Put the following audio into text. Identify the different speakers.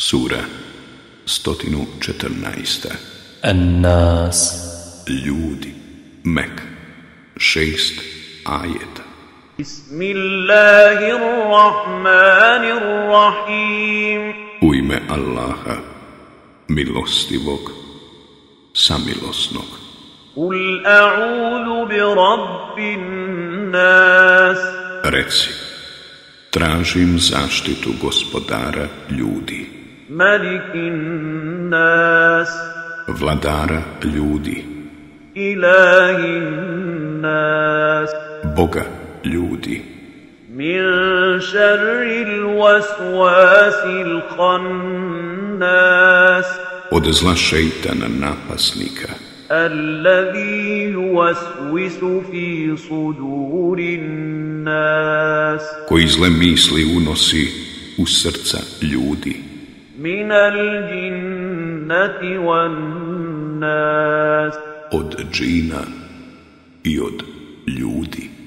Speaker 1: Sura 114.
Speaker 2: الناس
Speaker 1: Ljudi Mek Šest ajeta
Speaker 3: بسم الله الرحمن الرحيم
Speaker 1: U ime Allaha Milostivog Samilosnog
Speaker 3: قل أعوذ برب الناس
Speaker 1: Reci Tražim zaštitu gospodara ljudi
Speaker 3: ملك الناس
Speaker 1: Vladara ljudi
Speaker 3: إله الناس
Speaker 1: Boga ljudi
Speaker 3: من شر الوسواس الخناس
Speaker 1: Od zla šeitana napasnika
Speaker 3: الذي يوسوس في صدور الناس
Speaker 1: Koji zle misli unosi u srca ljudi
Speaker 3: من الجنة والناس
Speaker 1: od džina i od ljudi.